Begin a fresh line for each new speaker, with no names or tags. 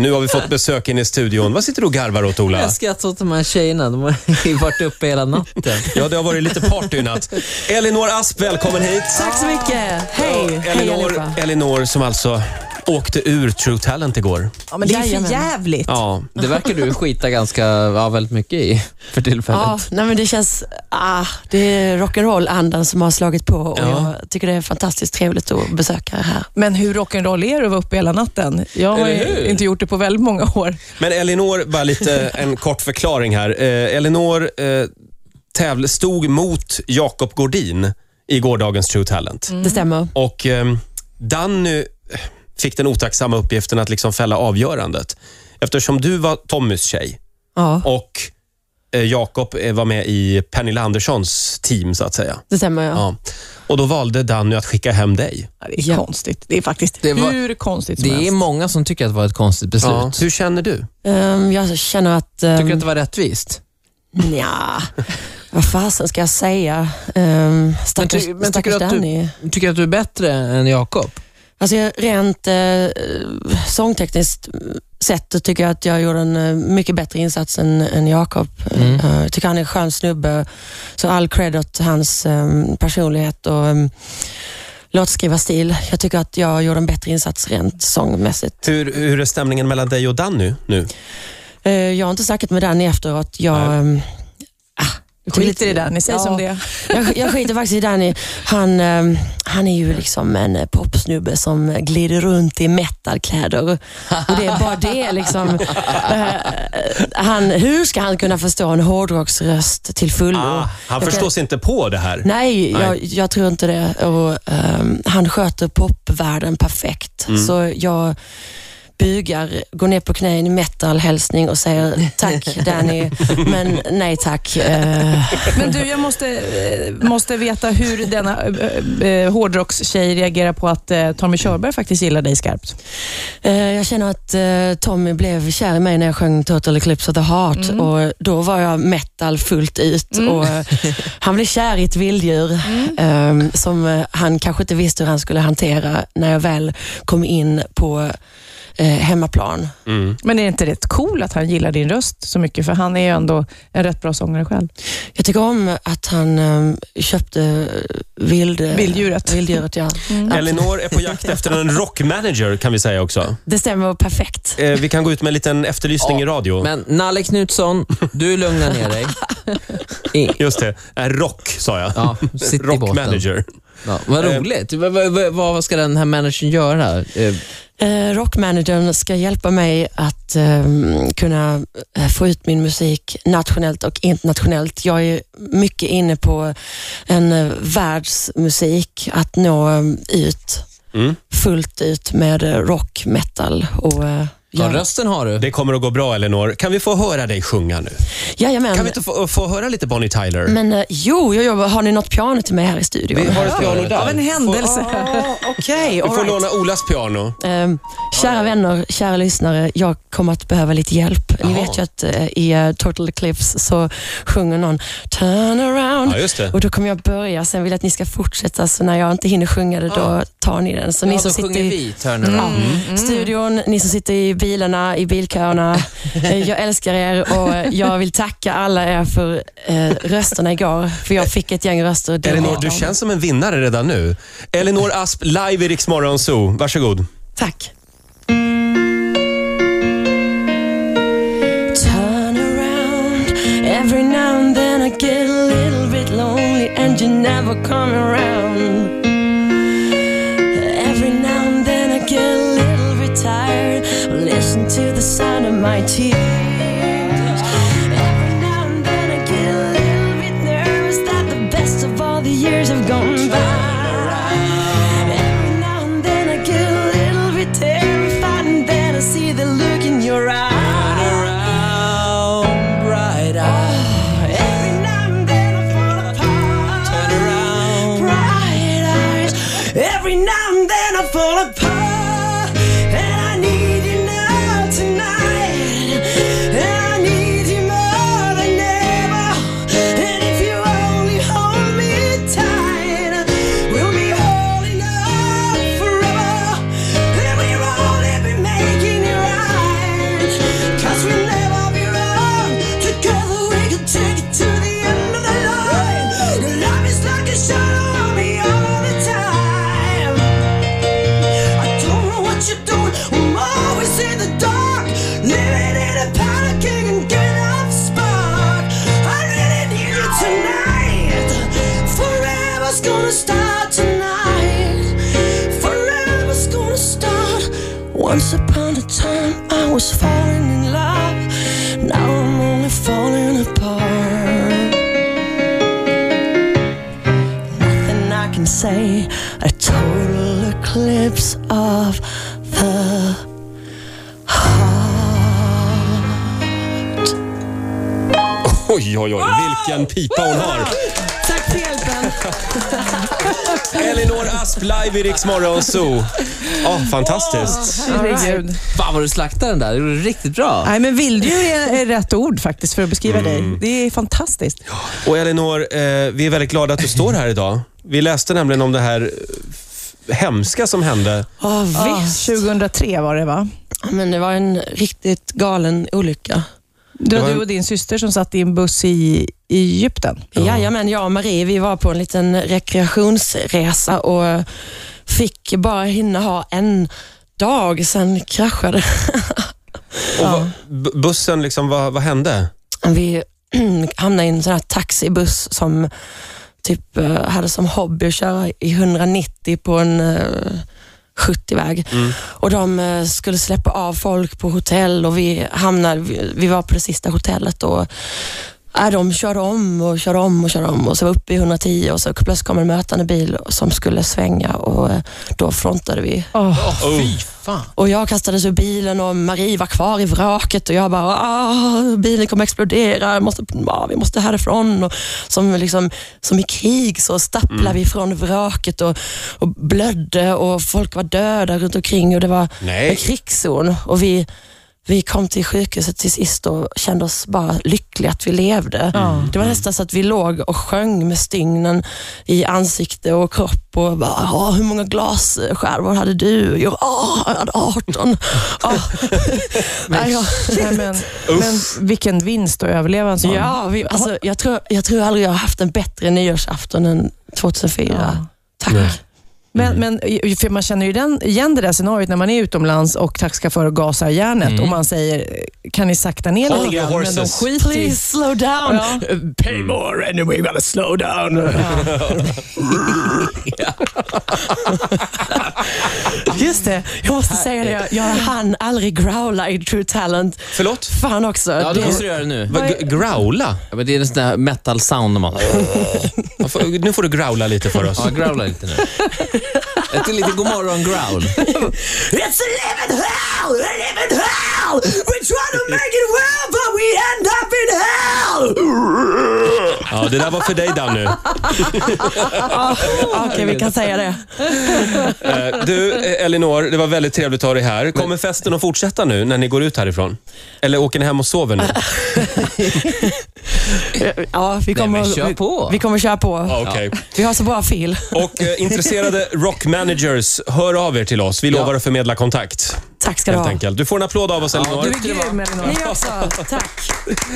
Nu har vi fått besök in i studion. Vad sitter du och garvar åt, Ola?
Jag skrattar åt de här tjejerna. De har ju varit uppe hela natten.
Ja, det har varit lite party i natt. Elinor Asp, välkommen hit.
Tack så mycket. Hej. Hej
Elinor,
allihopa.
Elinor som alltså åkte ur True Talent igår.
Ja, men det är ju för jävligt.
Ja,
Det verkar du skita ganska, ja, väldigt mycket i för tillfället.
Ja, nej men det känns, ah, det är rock'n'roll-andan som har slagit på och
Ja.
jag tycker det är fantastiskt trevligt att besöka er här.
Men hur rock'n'roll är det att vara uppe hela natten? Jag har
Eller hur?
ju inte gjort det på väldigt många år.
Men Elinor, bara lite en kort förklaring här. Eh, Elinor eh, tävl- stod mot Jakob Gordin i gårdagens True Talent.
Det stämmer.
Och ehm, Danny eh, fick den otacksamma uppgiften att liksom fälla avgörandet. Eftersom du var Tommys tjej
Ja,
och eh, Jakob eh, var med i Pernilla Anderssons team, så att säga.
det stämmer ja.
Ja. Och då valde Danny att skicka hem dig.
Ja, Det är konstigt. Det är faktiskt
Det var-
hur konstigt som
Det är
helst.
många som tycker att det var ett konstigt beslut.
Ja. Hur känner du?
Ehm, jag känner att, um,
Tycker du att det var rättvist?
nja, vad fasen ska jag säga? Um, stackars,
ty- men
stackars
tycker du att du-
Danny.
Tycker du att du är bättre än Jakob?
Alltså jag- rent eh, sångtekniskt sett så tycker jag att jag gjorde en eh, mycket bättre insats än, än Jakob.
Mm.
Eh, Jag tycker han är en skön snubbe, så all cred åt hans eh, personlighet och um, låtskrivarstil. Jag tycker att jag gjorde en bättre insats rent sångmässigt.
Hur, hur är stämningen mellan dig och Danny nu?
Eh, jag har inte snackat med Danny efteråt. Jag, eh,
Skit i det där. Ni säger
Ja.
som det är.
jag, jag skiter faktiskt i Danny. Han, eh, han är ju liksom en eh, popsnubbe som glider runt i metalkläder. Och det är bara det liksom. Eh, han, hur ska han kunna förstå en hårdrocksröst till fullo?
Ah, han
Jag
förstår sig inte på det här.
Nej,
Nej.
Jag, jag tror inte det. Och, ehm, han sköter popvärlden perfekt. Så jag bugar, går ner på knä i en metalhälsning och säger tack Danny, men nej tack. Eh,
Men du, jag måste, eh, måste veta hur denna eh, eh, hårdrockstjej reagerar på att eh, Tommy Körberg faktiskt gillar dig skarpt.
Eh, Jag känner att eh, Tommy blev kär i mig när jag sjöng Total Eclipse of the Heart och då var jag metal fullt ut.
Mm.
Och eh, han blev kär i ett vilddjur eh, som eh, han kanske inte visste hur han skulle hantera när jag väl kom in på eh, hemmaplan.
Mm.
Men är det inte rätt cool att han gillar din röst så mycket? För han är ju ändå en rätt bra sångare själv.
Jag tycker om att han eh, köpte eh, vild, eh,
Vilddjuret. Mm.
vilddjuret. Ja.
Elinor är på jakt efter en rockmanager kan vi säga också.
Det stämmer perfekt.
Eh, vi kan gå ut med en liten efterlysning
Ja,
i radio.
Men Nalle Knutsson, du lugnar ner dig. I,
Just det, eh, rock sa jag.
ja, sitt i båten.
Rockmanager.
Ja, vad
Eh.
roligt. Vad, vad, vad, vad ska den här managern göra? Eh,
Eh, Rockmanagern ska hjälpa mig att eh, kunna eh, få ut min musik nationellt och internationellt. Jag är mycket inne på en eh, världsmusik, att nå eh, ut
Mm.
fullt ut med eh, rock, metal och eh,
Ja, rösten har du.
Det kommer att gå bra Elinor. Kan vi få höra dig sjunga nu? Kan vi
Jajamän.
inte få, få höra lite Bonnie Tyler?
Men eh, jo, jo, jo, har ni något piano till mig här i studion?
Vi har ett piano där.
Av en händelse.
Okej,
Du får låna Olas piano.
Ehm, kära vänner, kära lyssnare, jag kommer att behöva lite hjälp. Ni
Jaha.
vet ju att eh, i eh, Total Eclipse så sjunger någon Turn around.
Ja, just det.
Och då kommer jag börja, sen vill jag att ni ska fortsätta, så när jag inte hinner sjunga det, då tar ni den. Så ni
Ja,
som
då
sitter
sjunger
i
vi Turnaround.
Mm.
studion, ni som sitter i bilarna, i bilköerna, eh, jag älskar er och eh, jag vill tacka alla er för eh, rösterna igår, för jag fick ett gäng röster. Det
Elinor,
var-
du känns som en vinnare redan nu. Elinor Asp, live i Rix Morgon Zoo. Varsågod.
Tack. Turn around. Every now and then I get a little bit lonely and you never come around. Every now and then I get a little bit tired. Listen to the sound of my tears. Every now and then I get a little bit nervous that the best of all the years have gone by. Every now and then I get a little bit terrified and then I see the look in your eye. Every now and then I fall apart. Turn around. Bright eyes. Every now and then I fall apart. And I need you now tonight.
start tonight. Forever's gonna start. Once upon a time, I was falling in love. Now I'm only falling apart. Nothing I can say, a total eclipse of the heart.
Oj, oj, oj. Vilken pipa hon har.
Tack för hjälpen.
Elinor Asp live i Rix Morgon Zoo. Ja, fantastiskt.
Herregud.
Fan vad du slaktade den där. Det gjorde riktigt bra.
Nej, men vilddjur är, är rätt ord faktiskt för att beskriva dig. Det är fantastiskt.
Och Elinor, eh, vi är väldigt glada att du står här idag. Vi läste nämligen om det här eh, f- hemska som hände.
Oh,
Ah,
visst.
2003 var det va?
Men det var en riktigt galen olycka.
Det
var
var
en-
du och din syster som satt i en buss i, i Egypten.
Jajamän, jag och Marie vi var på en liten rekreationsresa och fick bara hinna ha en dag, sen kraschade
Och vad- bu- bussen, liksom, vad, vad hände?
Vi hamnade i en sån här taxibuss som typ eh, hade som hobby att köra i 190 på en eh, 70-väg. Och de eh, skulle släppa av folk på hotell och vi hamnade, vi, vi var på det sista hotellet och äh, de körde om och körde om och körde om och så var uppe i 110 och så plötsligt kom en mötande bil som skulle svänga och eh, då frontade vi
Mm.
Oh.
och jag kastades ur bilen och Marie var kvar i vraket och jag bara, "Ah, bilen kommer explodera, jag måste, ah, vi måste härifrån. Och som, liksom, som i krig så stapplade vi från vraket och, och blödde och folk var döda runt omkring och det var
Nej.
en krigszon. Och vi, vi kom till sjukhuset till sist och kände oss bara lyckliga att vi levde. Det var nästan så att vi låg och sjöng med stygnen i ansikte och kropp och bara, "Ah, hur många glasskärvor hade du? Jag, "Ah, jag hade 18. Ah. Nej, jag-
Nej, men, men vilken vinst att överleva en sån.
ja, vi, alltså, jag, tror, jag tror aldrig jag har haft en bättre nyårsafton än 2004.
Ja.
Tack.
Men, men, eh, för man känner ju den, igen det där scenariot när man är utomlands och taxichaufförer gasar järnet och man säger, kan ni sakta ner
Hold
lite
your
grann? Men de
horses.
skiter i
Please slow down.
Ja.
Pay more and we're gonna slow down.
Just det, jag måste säga det. Jag, jag hann aldrig growla i True Talent.
Förlåt?
Fan också.
Ja,
det,
det måste du göra nu.
Va, g- growla?
Ja, men det är en sån där metal sound man
Ja, får- Nu får du growla lite för oss.
Ja, growla lite nu. Ett lite godmorgon growl.
It's a living hell, a living hell. We try to make it well, but we end up in hell.
Ja, det där var för dig Danny.
Okej, vi kan säga det.
Eh, Du, eh, Elinor, det var väldigt trevligt att ha dig här. Kommer festen att fortsätta nu när ni går ut härifrån? Eller åker ni hem och sover nu?
Ja,
Nej,
vi kommer,
men kör
vi,
på.
vi kommer köra på.
Ja, Okej.
Vi har så bra fil.
Och eh, intresserade rockmanagers, hör av er till oss. Vi lovar att förmedla kontakt.
Tack ska du
Helt
ha.
enkelt. Du får en applåd av oss, Elinor.
Du är grym, Elinor.
Ni också. Tack.